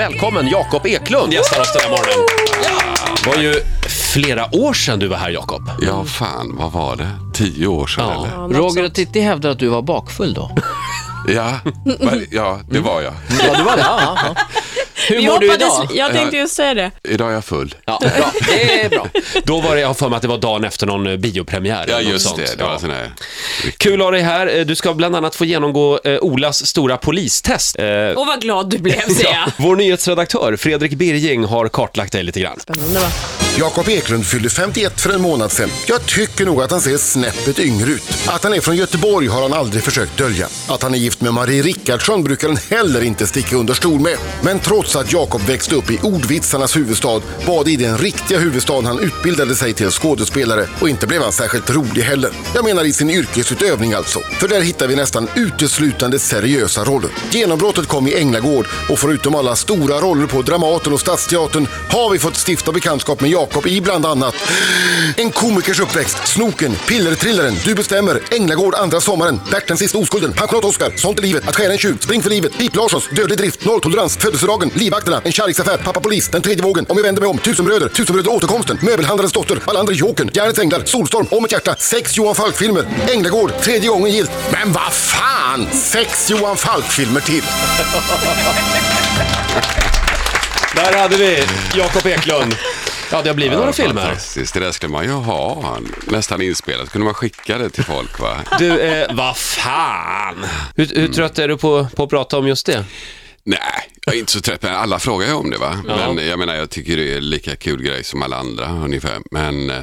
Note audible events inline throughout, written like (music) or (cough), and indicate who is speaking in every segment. Speaker 1: Välkommen Jakob Eklund gästar oss den här morgonen. Det var ju flera år sedan du var här Jakob.
Speaker 2: Ja, fan, vad var det? Tio år sedan eller?
Speaker 3: Roger och Titti hävdar att du var bakfull då.
Speaker 2: Ja, men- ja det var jag.
Speaker 3: Ja, du var det. Ja, ja. Hur
Speaker 4: Vi
Speaker 3: mår du
Speaker 4: hoppades,
Speaker 3: idag?
Speaker 4: jag tänkte just säga det.
Speaker 2: Idag är jag full.
Speaker 3: Ja, bra. Det är bra.
Speaker 1: Då var det, jag har för mig att det var dagen efter någon eh, biopremiär.
Speaker 2: Ja,
Speaker 1: eller något
Speaker 2: just
Speaker 1: sånt.
Speaker 2: det. Det var
Speaker 1: Ja.
Speaker 2: en sån här...
Speaker 1: Kul att ha dig här. Eh, Du ska bland annat få genomgå eh, Olas stora polistest. Eh,
Speaker 4: Och vad glad du blev, säger jag.
Speaker 1: Vår nyhetsredaktör Fredrik Birging har kartlagt dig lite grann.
Speaker 4: Spännande va?
Speaker 5: Jakob Eklund fyllde 51 för en månad sedan. Jag tycker nog att han ser snäppet yngre ut. Att han är från Göteborg har han aldrig försökt dölja. Att han är gift med Marie Rickardsson brukar han heller inte sticka under stol med. Men trots att Jakob växte upp i ordvitsarnas huvudstad var det i den riktiga huvudstaden han utbildade sig till skådespelare och inte blev han särskilt rolig heller. Jag menar i sin yrkesutövning alltså. För där hittar vi nästan uteslutande seriösa roller. Genombrottet kom i Änglagård och förutom alla stora roller på Dramaten och Stadsteatern har vi fått stifta bekantskap med Jakob i bland annat En komikers uppväxt, Snoken, Pillertrillaren, Du bestämmer, Änglagård andra sommaren, Bert den sista oskulden, Pensionat Oscar, Sånt är livet, Att skära en tjuv, Spring för livet, Pip Larssons, Dödlig drift, Nolltolerans, Födelsedagen, Livvakterna, En kärleksaffär, Pappa Polis, Den tredje vågen, Om jag vänder mig om, Tusenbröder, Tusenbröder återkomsten, Möbelhandlarens dotter, Wallander Jokern, Järnets änglar, Solstorm, Om ett hjärta, Sex Johan Falk-filmer, Änglagård, Tredje gången gillt. Men vad fan! Sex Johan Falk-filmer till.
Speaker 1: Där hade vi Jakob Eklund. Ja, det har blivit några
Speaker 2: Ja,
Speaker 1: filmer.
Speaker 2: Fantastiskt. Det där skulle man ju ha nästan inspelat. Kunde man skicka det till folk, va?
Speaker 1: Du, eh, vad fan. Hur, hur trött är du på, på att prata om just det?
Speaker 2: Nej, jag är inte så trött. Men alla frågar ju om det, va? Men jag menar, jag tycker det är lika kul grej som alla andra ungefär. Men eh,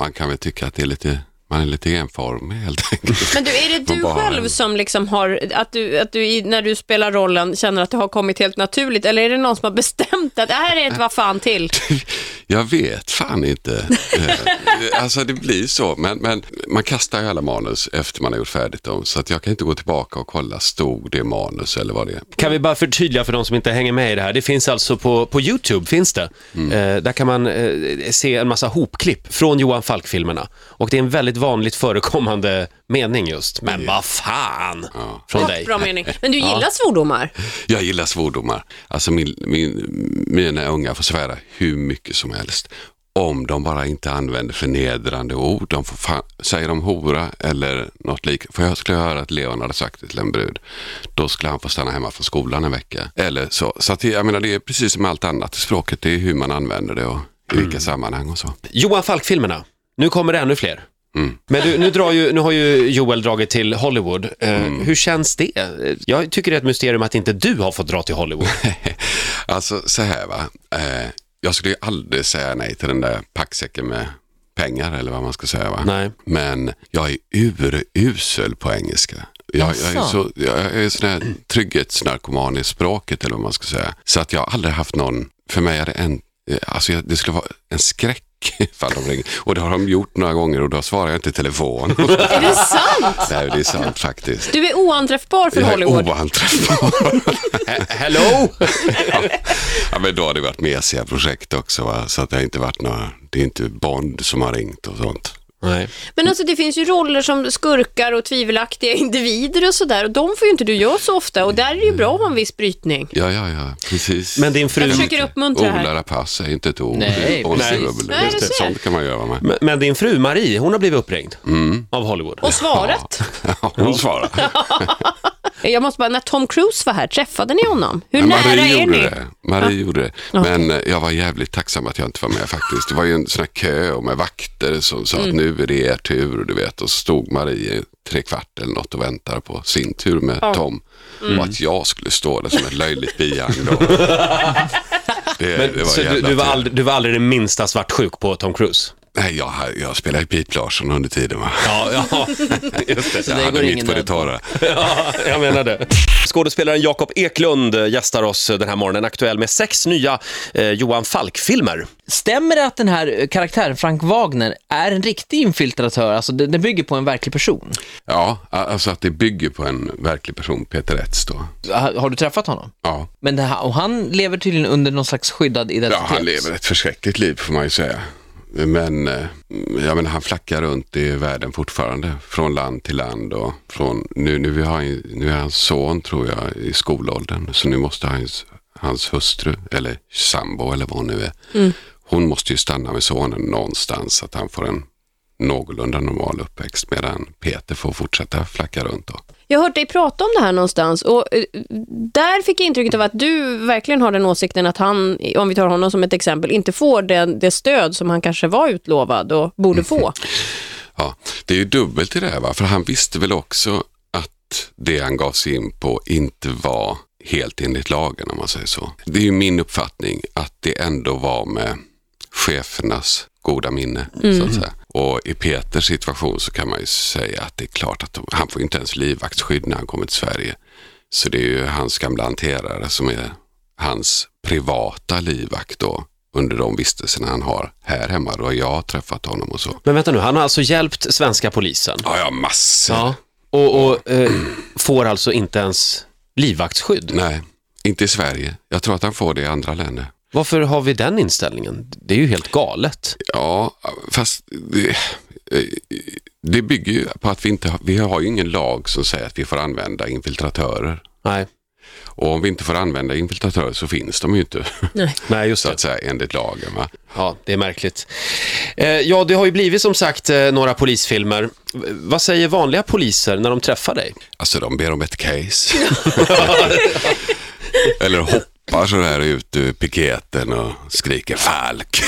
Speaker 2: man kan väl tycka att det är lite... Man är lite enformig helt enkelt.
Speaker 4: Men du, är det
Speaker 2: Man
Speaker 4: du
Speaker 2: bara-
Speaker 4: själv som liksom har, att du, att du i- när du spelar rollen känner att det har kommit helt naturligt eller är det någon som har bestämt att det här är ett vad fan till?
Speaker 2: (laughs) Jag vet fan inte. Eh, alltså det blir så, men, men man kastar ju alla manus efter man har gjort färdigt dem. Så att jag kan inte gå tillbaka och kolla, stod det manus eller vad det är?
Speaker 1: Kan vi bara förtydliga för de som inte hänger med i det här. Det finns alltså på, på YouTube, finns det. Eh, där kan man eh, se en massa hopklipp från Johan Falk-filmerna. Och det är en väldigt vanligt förekommande mening just. Men vad fan! Från dig.
Speaker 4: Bra mening. Men du gillar svordomar?
Speaker 2: Jag gillar svordomar. Alltså min, min, mina unga får svära hur mycket som helst. Om de bara inte använder förnedrande ord. De får fan, säger de hora eller något liknande. För jag skulle höra att Leon hade sagt det till en brud. Då skulle han få stanna hemma från skolan en vecka. Eller så. Så att, det- jag menar, det är precis som allt annat i språket. Det är hur man använder det och i vilka sammanhang och så.
Speaker 1: Johan Falk-filmerna. Nu kommer det ännu fler. Men du, nu, drar ju, nu har ju Joel dragit till Hollywood. Eh, Hur känns det? Eh, Jag tycker det är ett mysterium att inte du har fått dra till Hollywood.
Speaker 2: Alltså så här va. Eh, jag skulle ju aldrig säga nej till den där packsäcken med pengar eller vad man ska säga va.
Speaker 1: Nej.
Speaker 2: Men jag är urusel på engelska. Jag, jag är så, jag är sån här trygghetsnarkoman i språket eller vad man ska säga. Så att jag har aldrig haft någon, för mig är det en, eh, alltså jag, det skulle vara en skräck (laughs) ifall de ringer. Och det har de gjort några gånger och då svarar jag inte
Speaker 1: (laughs)
Speaker 2: i telefon.
Speaker 4: Är det sant?
Speaker 2: Nej, det är sant faktiskt.
Speaker 4: Du är oanträffbar för
Speaker 2: Jag är
Speaker 4: Hollywood.
Speaker 2: oanträffbar.
Speaker 1: (laughs) He- Hello!
Speaker 2: (laughs) Ja, men då har det varit mesiga projekt också, va? så att det har inte varit några, det är inte Bond som har ringt och sånt.
Speaker 1: Nej.
Speaker 4: Men alltså det finns ju roller som skurkar och tvivelaktiga individer och sådär och de får ju inte du göra så ofta och där är det ju bra att ha en viss brytning.
Speaker 2: Ja, ja, ja, precis.
Speaker 1: Men din fru...
Speaker 4: Jag försöker uppmuntra här.
Speaker 2: Odla rapace är inte ett ord.
Speaker 3: Nej,
Speaker 2: Och
Speaker 3: precis.
Speaker 2: strubbel.
Speaker 4: Nej, du ser.
Speaker 2: Sånt kan man göra
Speaker 4: (laughs)
Speaker 2: med.
Speaker 1: Men, men din fru Marie, hon har blivit uppringd av Hollywood.
Speaker 4: Och svaret?
Speaker 2: Ja, hon svarar.
Speaker 4: Jag måste bara, när Tom Cruise var här, träffade ni honom? Hur nära är
Speaker 2: gjorde
Speaker 4: ni?
Speaker 2: det. Marie gjorde det. Men eh, jag var jävligt tacksam att jag inte var med faktiskt. Det var ju en sån här kö och med vakter som sa
Speaker 4: Mm.
Speaker 2: att nu är det er tur, och du vet. Och så stod Marie i tre kvart eller något och väntade på sin tur med Tom.
Speaker 4: Mm.
Speaker 2: Och att jag skulle stå där som ett löjligt bihang
Speaker 4: (laughs)
Speaker 2: då. Det, det
Speaker 1: Men,
Speaker 2: var
Speaker 1: så du,
Speaker 2: jävla
Speaker 1: du, var
Speaker 2: tur.
Speaker 1: aldrig, du var aldrig det minsta svartsjuk på Tom Cruise?
Speaker 2: Nej, jag, jag spelade ju Pete Larsson under tiden. Va?
Speaker 1: Ja, ja. (laughs)
Speaker 2: Just det, jag
Speaker 3: det
Speaker 2: hade
Speaker 3: går ingen
Speaker 2: mitt på det
Speaker 3: nöd.
Speaker 2: torra.
Speaker 1: ja jag menar det. Skådespelaren Jakob Eklund eh, gästar oss den här morgonen, aktuell med sex nya eh, Johan Falk-filmer.
Speaker 3: Stämmer det att den här eh, karaktären, Frank Wagner, är en riktig infiltratör? Alltså, den den bygger på en verklig person.
Speaker 2: Ja, alltså att det bygger på en verklig person, Peter Etz då.
Speaker 3: Ha- Har du träffat honom?
Speaker 2: Ja.
Speaker 3: Men det här, och han lever tydligen under någon slags skyddad
Speaker 2: Ja,
Speaker 3: identitet.
Speaker 2: han lever ett förskräckligt liv får man ju säga. Men eh, jag menar, han flackar runt i världen fortfarande, från land till land. Och från, nu, nu, har han, ju- nu är hans son, tror jag, i skolåldern, så nu måste han, ju- hans hustru eller sambo eller vad hon nu är. Hon måste ju stanna med sonen någonstans så att han får en någorlunda normal uppväxt medan Peter får fortsätta flacka runt. Då.
Speaker 4: Jag har hört dig prata om det här någonstans och eh, där fick jag intrycket av att du verkligen har den åsikten att han, om vi tar honom som ett exempel, inte får det, det stöd som han kanske var utlovad och borde få.
Speaker 2: Ja, det är ju dubbelt i det här, va? för han visste väl också att det han gav sig in på inte var helt enligt lagen om man säger så. Det är ju min uppfattning att det ändå var med chefernas goda minne. Så att säga. Och i Peters situation så kan man ju säga att det är klart att de, han får ju inte ens livvaktsskydd när han kommer till Sverige. Så det är ju hans gamla hanterare som är hans privata livvakt då under de vistelserna han har här hemma. Då har jag träffat honom och så.
Speaker 1: Men vänta nu, han har alltså hjälpt svenska polisen.
Speaker 2: Ja, ja, massor.
Speaker 1: Ja. Och, och eh, får alltså inte ens livvaktsskydd.
Speaker 2: Nej, inte i Sverige. Jag tror att han får det i andra länder.
Speaker 1: Varför har vi den inställningen? Det är ju helt galet.
Speaker 2: Ja, fast det, det bygger ju på att vi inte har, vi har ju ingen lag som säger att vi får använda infiltratörer.
Speaker 1: Nej,
Speaker 2: Och om vi inte får använda infiltratörer så finns de ju inte, (laughs)
Speaker 1: Nej just
Speaker 2: så
Speaker 1: det.
Speaker 2: att säga, enligt lagen. Va?
Speaker 1: Ja, det är märkligt. Eh, ja, det har ju blivit som sagt eh, några polisfilmer. V- Vad säger vanliga poliser när de träffar dig?
Speaker 2: Alltså de ber om ett case. (laughs) Eller hoppar sådär ut ur piketen och skriker falk.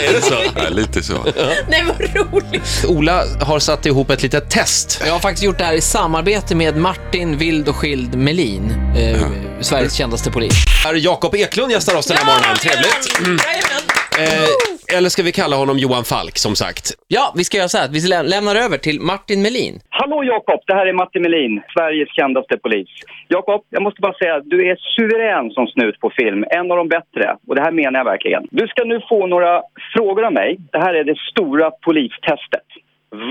Speaker 1: (laughs) är det så?
Speaker 2: Ja, lite så.
Speaker 4: (laughs) Nej, vad roligt!
Speaker 1: Ola har satt ihop ett litet test.
Speaker 3: Jag har faktiskt gjort det här i samarbete med Martin Wild och Skild Melin, eh, Sveriges kändaste polis.
Speaker 1: Här är Jakob Eklund gästar oss den här morgonen. Trevligt. Eh, eller ska vi kalla honom Johan Falk, som sagt.
Speaker 3: Ja, vi ska göra så här att vi lä- lämnar över till Martin Melin.
Speaker 6: Hallå Jakob, det här är Matti Melin, Sveriges kändaste polis. Jakob, jag måste bara säga, du är suverän som snut på film. En av de bättre, och det här menar jag verkligen. Du ska nu få några frågor av mig. Det här är det stora polistestet.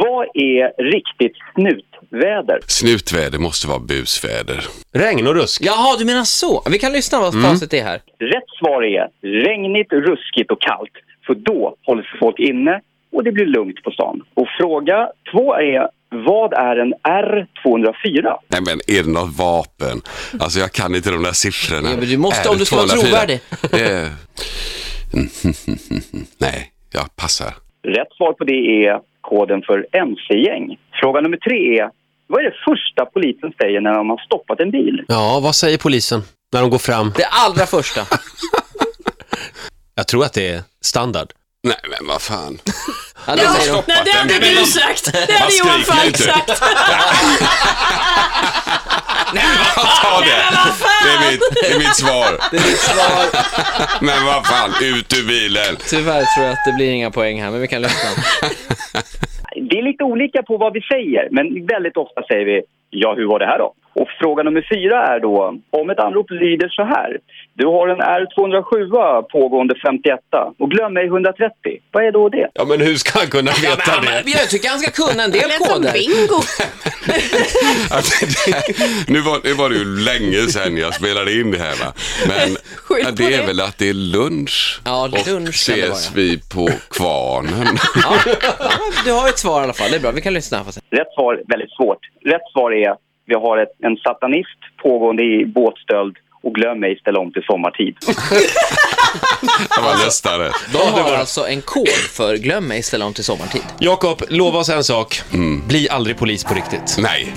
Speaker 6: Vad är riktigt snutväder?
Speaker 2: Snutväder måste vara busväder.
Speaker 1: Regn och rusk.
Speaker 3: Jaha, du menar så. Vi kan lyssna vad
Speaker 2: Mm.
Speaker 3: facit är här.
Speaker 6: Rätt svar är regnigt, ruskigt och kallt. För då håller sig folk inne och det blir lugnt på stan. Och fråga två är, vad är en R204?
Speaker 2: Nej men är det något vapen? Alltså jag kan inte de där siffrorna.
Speaker 3: Ja, men du måste,
Speaker 2: Är
Speaker 3: om
Speaker 2: det
Speaker 3: du ska vara
Speaker 2: 204?
Speaker 3: trovärdig.
Speaker 2: Eh, (laughs) Nej, jag passar.
Speaker 6: Rätt svar på det är koden för mc-gäng. Fråga nummer tre är vad är det första polisen säger när de har stoppat en bil?
Speaker 1: Ja, vad säger polisen när de går fram?
Speaker 3: Det allra första.
Speaker 1: Jag tror att det är standard.
Speaker 2: Nej men vad fan.
Speaker 3: Ja, det säger de.
Speaker 4: Nej, det hade du sagt! Det hade Johan
Speaker 2: skriker
Speaker 4: Falk
Speaker 2: inte. (laughs)
Speaker 4: sagt!
Speaker 2: Ta det! Det är mitt, det är mitt svar.
Speaker 3: Det är ditt svar.
Speaker 2: (laughs) Men vad fan, ut ur bilen.
Speaker 3: Tyvärr tror jag att det blir inga poäng här, men vi
Speaker 2: (laughs)
Speaker 3: kan lyssna.
Speaker 6: Det är lite olika på vad vi säger, men väldigt ofta säger vi ja, hur var det här då? Och fråga nummer fyra är då, om ett anrop lyder så här. Du har en R207 pågående 51 och glöm mig 130. Vad är då det?
Speaker 1: Ja, men hur ska han kunna veta det?
Speaker 3: Jag tycker han ska kunna en del
Speaker 4: Det lät som
Speaker 3: koder.
Speaker 4: bingo.
Speaker 2: Alltså, det- (laughs) nu, var, nu var det ju länge sedan jag spelade in det här va. Men
Speaker 4: Skyll på
Speaker 2: det är
Speaker 4: det.
Speaker 2: väl att det är lunch
Speaker 3: Ja,
Speaker 2: och
Speaker 3: lunch kan det
Speaker 2: ses
Speaker 3: vara.
Speaker 2: vi på Kvarnen. (laughs)
Speaker 3: Ja, ja, du har ett svar i alla fall. Det är bra. Vi kan lyssna. Här.
Speaker 6: Rätt svar, väldigt svårt. Rätt svar är, vi har ett, en satanist pågående i båtstöld och glöm mig ställa om till sommartid.
Speaker 2: Det var nästan rätt.
Speaker 3: De har alltså en kod för glöm mig, ställa om till sommartid.
Speaker 1: Jakob, lova oss en sak. Bli aldrig polis på riktigt.
Speaker 2: Nej.